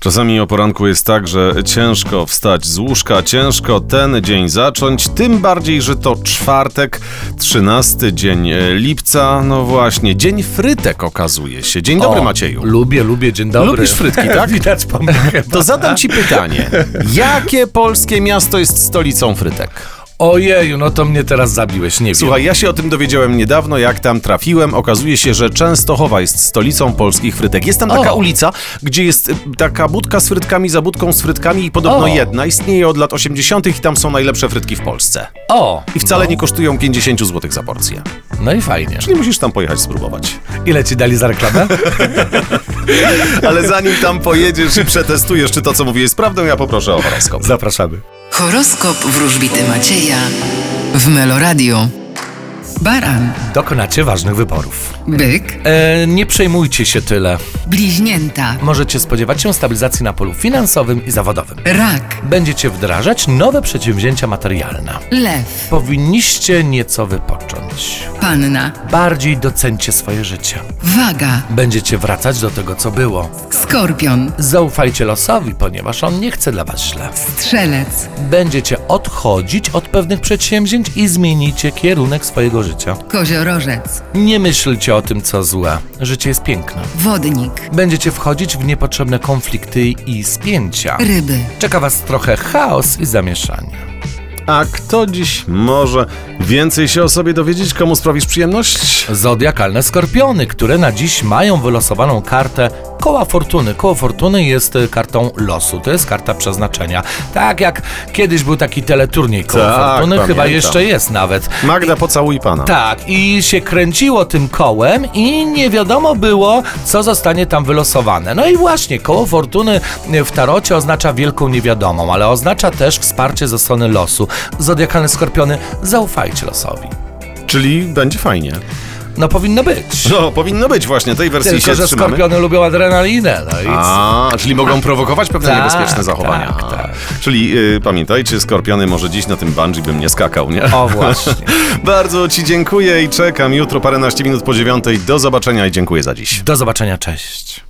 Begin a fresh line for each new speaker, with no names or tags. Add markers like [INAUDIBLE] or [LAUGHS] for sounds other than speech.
Czasami o poranku jest tak, że ciężko wstać z łóżka, ciężko ten dzień zacząć, tym bardziej, że to czwartek, 13 dzień e, lipca, no właśnie, dzień frytek okazuje się. Dzień dobry
O,
Macieju.
Lubię, lubię, dzień dobry.
Lubisz
[LAUGHS]
frytki, tak?
Widać pan chyba.
To zadam ci pytanie. Jakie polskie miasto jest stolicą frytek?
Ojeju, no to mnie teraz zabiłeś, nie
Słuchaj, ja się o tym dowiedziałem niedawno, jak tam trafiłem. Okazuje się, że Częstochowa jest stolicą polskich frytek. Jest tam taka
O.
ulica, gdzie jest y, taka budka z frytkami za budką z frytkami i podobno
O.
jedna istnieje od lat 80. i tam są najlepsze frytki w Polsce.
wiem. O,
I wcale nie kosztują 50 zł za porcję.
no i fajnie.
Czyli musisz tam pojechać spróbować.
Ile ci dali za
[LAUGHS]
reklamę?
Ale zanim tam pojedziesz i przetestujesz, czy to, co mówię, jest prawdą, ja poproszę o horoskop.
Zapraszamy.
Horoskop wróżbity Macieja w Meloradio. Baran,
Dokonacie ważnych wyborów.
byk,
E, nie przejmujcie się tyle.
bliźnięta,
Możecie spodziewać się stabilizacji na polu finansowym i zawodowym.
rak,
Będziecie wdrażać nowe przedsięwzięcia materialne.
lew,
Powinniście nieco wypocząć.
panna,
Bardziej docencie swoje życie.
waga,
Będziecie wracać do tego, co było.
skorpion,
Zaufajcie losowi, ponieważ on nie chce dla was źle.
strzelec,
Będziecie odchodzić od pewnych przedsięwzięć i zmienicie kierunek swojego życia.
koziorożec,
Nie myślcie o tym, co złe. Życie jest piękne.
wodnik,
Będziecie wchodzić w niepotrzebne konflikty i spięcia.
ryby,
Czeka was trochę chaos i zamieszanie.
A kto dziś może więcej się o sobie dowiedzieć? Komu sprawisz przyjemność?
Zodiakalne skorpiony, które na dziś mają wylosowaną kartę koła fortuny. Koło fortuny jest y, kartą losu, to jest karta przeznaczenia. Tak jak kiedyś był taki teleturniej koło
Tak,
fortuny, chyba
pamiętam.
jeszcze jest nawet.
Magda, pocałuj pana.
Tak, i się kręciło tym kołem i nie wiadomo było, co zostanie tam wylosowane. No i właśnie, koło fortuny w tarocie oznacza wielką niewiadomą, ale oznacza też wsparcie ze strony losu. Zodiakalne skorpiony, zaufajcie losowi.
Czyli będzie fajnie.
No powinno być.
No, powinno być właśnie, tej wersji
Tylko,
się
że
trzymamy.
skorpiony lubią adrenalinę. No i
A, czyli mogą prowokować pewne
Tak,
niebezpieczne zachowania.
tak, tak.
Czyli y, pamiętajcie, skorpiony może dziś na tym bungee bym nie skakał, nie?
O właśnie.
[LAUGHS] Bardzo ci dziękuję i czekam jutro paręnaście minut po dziewiątej. Do zobaczenia i dziękuję za dziś.
Do zobaczenia, cześć.